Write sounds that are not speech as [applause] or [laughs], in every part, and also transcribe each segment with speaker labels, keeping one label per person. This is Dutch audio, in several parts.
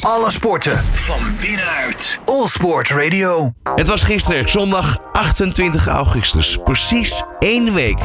Speaker 1: Alle sporten van binnenuit. All Sport Radio.
Speaker 2: Het was gisteren, zondag 28 augustus. Precies één week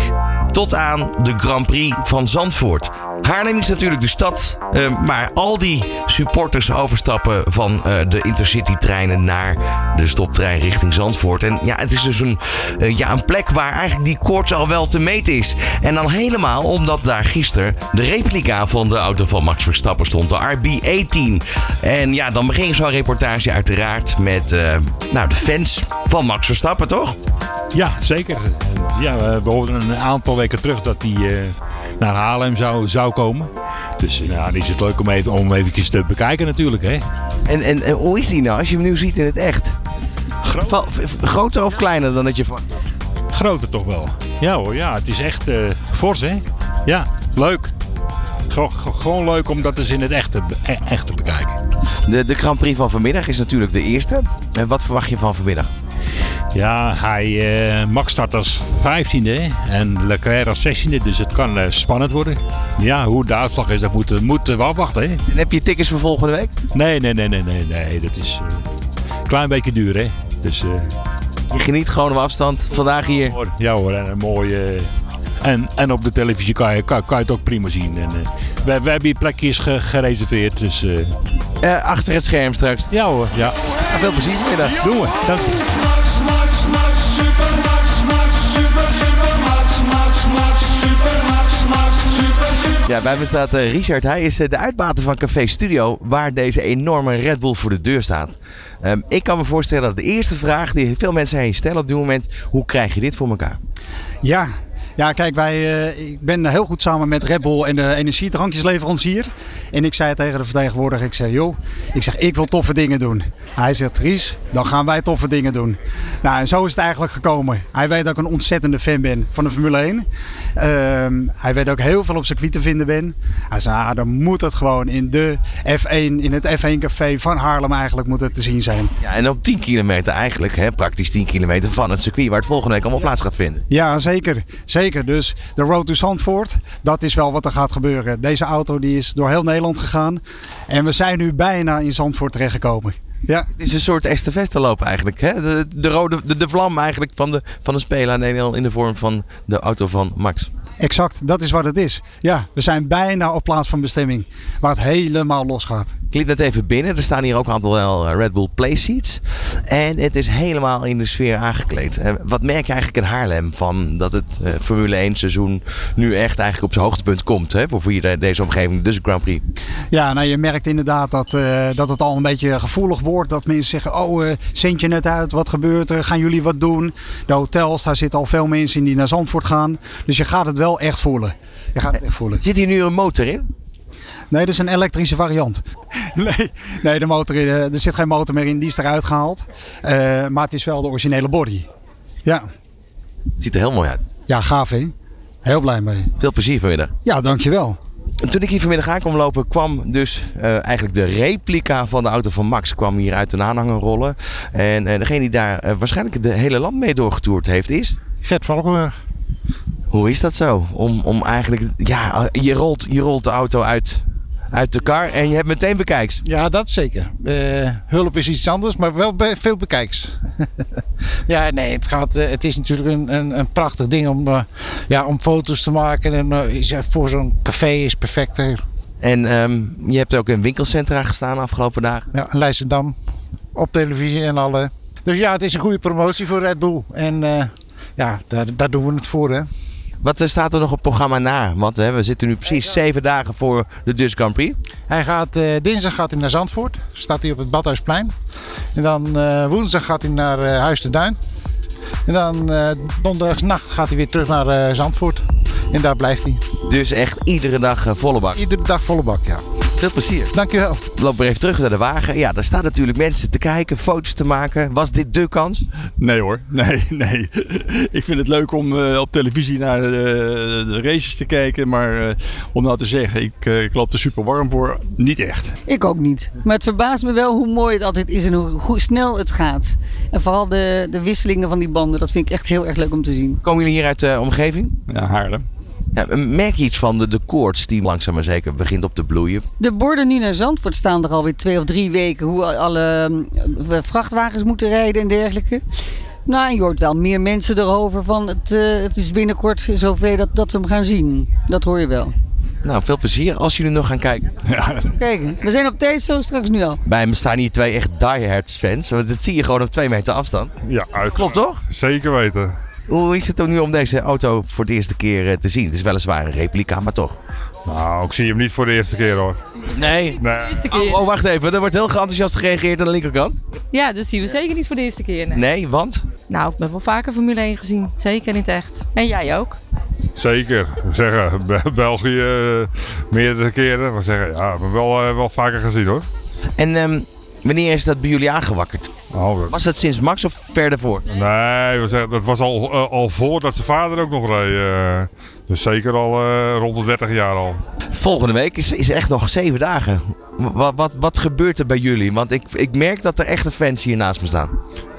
Speaker 2: tot aan de Grand Prix van Zandvoort. Haarlem is natuurlijk de stad eh, waar al die supporters overstappen van eh, de intercity-treinen naar de stoptrein richting Zandvoort. En ja, het is dus een, eh, ja, een plek waar eigenlijk die koorts al wel te meten is. En dan helemaal omdat daar gisteren de replica van de auto van Max Verstappen stond, de RB18. En ja, dan begin zo'n reportage uiteraard met eh, nou, de fans van Max Verstappen, toch?
Speaker 3: Ja, zeker. Ja, we- we hoorden een aantal weken terug dat hij eh, naar Haarlem zou, zou komen. Dus eh, nou, dan is het leuk om, even, om eventjes te bekijken natuurlijk. Hè?
Speaker 2: En, en, en hoe is die nou als je hem nu ziet in het echt? Va- v- v- groter of kleiner dan dat je verwacht?
Speaker 3: Groter toch wel. Ja hoor, ja, het is echt eh, fors hè. Ja, leuk. Gew- gew- gewoon leuk om dat eens in het echt te, be- e- echt te bekijken.
Speaker 2: De, de Grand Prix van vanmiddag is natuurlijk de eerste. En wat verwacht je van vanmiddag?
Speaker 3: Ja, hij, eh, Max start als 15e hè, en Leclerc als 16e, dus het kan eh, spannend worden. Ja, hoe de uitslag is, dat moeten moeten we afwachten hè.
Speaker 2: En heb je tickets voor volgende week?
Speaker 3: Nee, nee, nee, nee, nee, nee. Dat is eh, een klein beetje duur, hè. Dus eh,
Speaker 2: Je geniet gewoon op afstand. Vandaag hier.
Speaker 3: hoor, ja hoor, en een mooie... eh, en, en op de televisie kan je, kan, kan je het ook prima zien. En, eh, we, we hebben hier plekjes ge- gereserveerd, dus eh,
Speaker 2: Eh, achter het scherm straks.
Speaker 3: ja hoor, ja.
Speaker 2: Nou, veel plezier vanmiddag.
Speaker 3: Doen we. Dank je.
Speaker 4: Max, Max, Max, super Max, Max, super, super Max, Max, Max, super Max, Max, super, super.
Speaker 2: Ja, bij me staat eh, Richard. Hij is eh, de uitbater van Café Studio, waar deze enorme Red Bull voor de deur staat. Ehm, ik kan me voorstellen dat de eerste vraag die veel mensen aan je stellen op dit moment, hoe krijg je dit voor elkaar?
Speaker 5: Ja. Ja, kijk, wij, eh, ik ben heel goed samen met Red Bull en de energiedrankjesleverancier. En ik zei tegen de vertegenwoordiger, ik zeg, joh, ik zeg, ik wil toffe dingen doen. Hij zegt, Ries, dan gaan wij toffe dingen doen. Nou, en zo is het eigenlijk gekomen. Hij weet dat ik een ontzettende fan ben van de Formule 1. Ehm, hij weet dat ik heel veel op circuit te vinden ben. Hij zei, ah, dan moet het gewoon in de F1, in het F1 café van Haarlem eigenlijk moet het te zien zijn.
Speaker 2: Ja, en op 10 kilometer eigenlijk, hè, praktisch 10 kilometer van het circuit, waar het volgende week allemaal plaats gaat vinden.
Speaker 5: Ja, zeker. Zeker. Dus de Road to Zandvoort, dat is wel wat er gaat gebeuren. Deze auto die is door heel Nederland gegaan. En we zijn nu bijna in Zandvoort terechtgekomen. Ja,
Speaker 2: Het is een soort estafetteloop eigenlijk. Hè? De, de, rode, de, de vlam eigenlijk van de, van de speler aan de ene kant in de vorm van de auto van Max.
Speaker 5: exact. Dat is wat het is. Ja, we zijn bijna op plaats van bestemming. Waar het helemaal los gaat.
Speaker 2: Ik liep net even binnen. Er staan hier ook een aantal wel, eh, Red Bull playseats. En het is helemaal in de sfeer aangekleed. Eh, Wat merk je eigenlijk in Haarlem van dat het eh, Formule 1 seizoen nu echt eigenlijk op zijn hoogtepunt komt? Hè? Voor, voor hier, eh, deze omgeving, dus de Grand Prix.
Speaker 5: Ja, nou je merkt inderdaad dat, eh, dat het al een beetje gevoelig wordt. Dat mensen zeggen, oh, eh zend je net uit, wat gebeurt er? Gaan jullie wat doen? De hotels, daar zitten al veel mensen in die naar Zandvoort gaan. Dus je gaat het wel echt voelen. Je gaat het echt voelen.
Speaker 2: Zit hier nu een motor in?
Speaker 5: Nee, dat is een elektrische variant. [laughs] Nee, nee de motor, eh, er zit geen motor meer in, die is eruit gehaald. Eh, maar het is wel de originele body. Ja,
Speaker 2: Het ziet er heel mooi uit.
Speaker 5: ja gaaf hè? Heel blij mee.
Speaker 2: Veel plezier vanmiddag.
Speaker 5: Ja, dankjewel.
Speaker 2: En Toen ik hier vanmiddag aan kwam lopen, kwam dus eh, eigenlijk de replica van de auto van Max kwam hier uit een aanhanger rollen. En eh, degene die daar eh, waarschijnlijk de hele land mee doorgetoerd heeft is...
Speaker 6: Gert Valkenburg.
Speaker 2: Hoe is dat zo? Om, om eigenlijk, ja, eh, je rolt, je rolt de auto uit, uit de kar en je hebt meteen bekijks.
Speaker 6: Ja, dat zeker. Eh, hulp is iets anders, maar wel be- veel bekijks. [laughs] ja, nee, het, gaat, eh, het is natuurlijk een, een, een prachtig ding om, eh, ja, om foto's te maken. En eh, is, eh, voor zo'n café is perfect. hè.
Speaker 2: En ehm, je hebt ook in winkelcentra gestaan de afgelopen dagen.
Speaker 6: Ja, Leidschendam, op televisie en alle. Dus ja, het is een goede promotie voor Red Bull. En eh, ja, daar, daar doen we het voor, hè.
Speaker 2: Wat eh, staat er nog op programma na? Want hè, we zitten nu precies zeven dagen voor de Dutch Grand Prix.
Speaker 6: Hij gaat, eh, dinsdag gaat hij naar Zandvoort. Staat hij op het Badhuisplein. En dan eh, woensdag gaat hij naar eh, Huis de Duin. En dan eh donderdagsnacht gaat hij weer terug naar eh, Zandvoort. En daar blijft hij.
Speaker 2: Dus echt iedere dag eh, volle bak.
Speaker 6: Iedere dag volle bak, ja.
Speaker 2: Veel plezier.
Speaker 6: Dankjewel.
Speaker 2: Loop weer even terug naar de wagen. Ja, daar staan natuurlijk mensen te kijken, foto's te maken. Was dit de kans?
Speaker 7: Nee hoor, [laughs] nee, nee. Ik vind het leuk om eh, op televisie naar de, de races te kijken, maar eh, om nou te zeggen, ik, eh, ik loop er super warm voor, niet echt.
Speaker 8: Ik ook niet. Maar het verbaast me wel hoe mooi het altijd is en hoe, hoe snel het gaat. En vooral de, de wisselingen van die banden, dat vind ik echt heel erg leuk om te zien.
Speaker 2: Komen jullie hier uit de eh, omgeving?
Speaker 7: Ja, Haarlem.
Speaker 2: Ja, merk je iets van de, de koorts die langzaam maar zeker begint op te bloeien?
Speaker 8: De borden nu naar Zandvoort staan er alweer twee of drie weken. Hoe alle eh, vrachtwagens moeten rijden en dergelijke. Nou, en je hoort wel meer mensen erover van het, eh, het is binnenkort zover dat, dat we hem gaan zien. Dat hoor je wel.
Speaker 2: Nou, veel plezier als jullie nog gaan kijken.
Speaker 8: Kijk, we zijn op tijd zo straks nu al.
Speaker 2: Bij me staan hier twee echt diehards fans. Want dat zie je gewoon op twee meter afstand.
Speaker 9: Ja, uit-
Speaker 2: Klopt toch?
Speaker 9: Zeker weten.
Speaker 2: Hoe is het dan nu om deze auto voor de eerste keer eh, te zien? Het is weliswaar een replica, maar toch.
Speaker 9: Nou, ik zie hem niet voor de eerste keer hoor.
Speaker 2: Nee.
Speaker 9: Nee.
Speaker 2: Oh, oh, wacht even. Er wordt heel enthousiast gereageerd aan de linkerkant.
Speaker 10: Ja, dus zien we zeker niet voor de eerste keer. nee.
Speaker 2: Nee, want?
Speaker 10: Nou, ik ben wel vaker Formule 1 gezien. Zeker niet echt. En jij ook?
Speaker 9: Zeker. We zeggen, [laughs] Be- België eh, meerdere keren. We zeggen, ja, we hebben wel, eh, wel vaker gezien hoor.
Speaker 2: En ehm, wanneer is dat bij jullie aangewakkerd?
Speaker 9: Oh, dat-
Speaker 2: Was dat sinds Max of verder voor?
Speaker 9: nee, we zeggen, dat was al, eh, al voordat zijn vader ook nog reed. eh. dus zeker al eh, rond de 30 jaar al.
Speaker 2: Volgende week is, is echt nog zeven dagen. Wat, wat, wat gebeurt er bij jullie? Want ik, ik merk dat er echte fans hier naast me staan.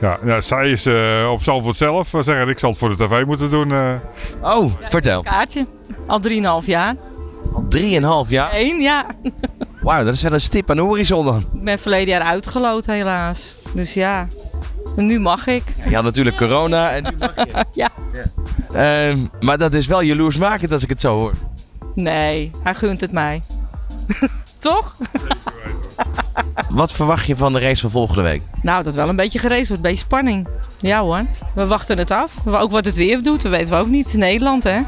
Speaker 9: Ja, nou, zij is eh, op Zandvoort zelf. We zeggen, ik zal het voor de tv moeten doen. eh.
Speaker 2: Oh, vertel.
Speaker 10: Kaartje. Al 3,5 jaar.
Speaker 2: Al drieënhalf jaar?
Speaker 10: Eén jaar.
Speaker 2: Wauw, dat is wel een stip aan de horizon dan.
Speaker 10: Ik ben verleden jaar uitgeloot helaas. Dus ja. En nu mag ik.
Speaker 2: Je had natuurlijk corona. En nu mag je.
Speaker 10: Ja.
Speaker 2: Ehm, maar dat is wel jaloersmakend als ik het zo hoor.
Speaker 10: Nee, hij gunt het mij. [laughs] Toch?
Speaker 2: Wat verwacht je van de race van volgende week?
Speaker 10: Nou, dat wel een beetje gereisd wordt, een beetje spanning. Ja hoor, we wachten het af. Ook wat het weer doet, dat weten we ook niet. Het is Nederland hè.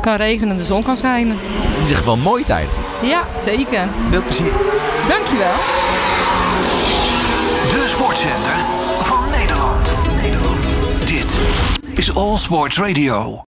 Speaker 10: Kan regenen, de zon kan schijnen.
Speaker 2: In ieder geval mooi tijd.
Speaker 10: Ja, zeker.
Speaker 2: Veel plezier.
Speaker 10: Dankjewel.
Speaker 1: De sportzender van Nederland. Dit is All Sports Radio.